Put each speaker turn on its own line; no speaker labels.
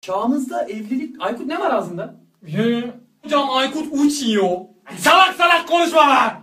Çağımızda evlilik... Aykut ne var ağzında?
He. Hocam Aykut uçuyor. Salak salak konuşma lan.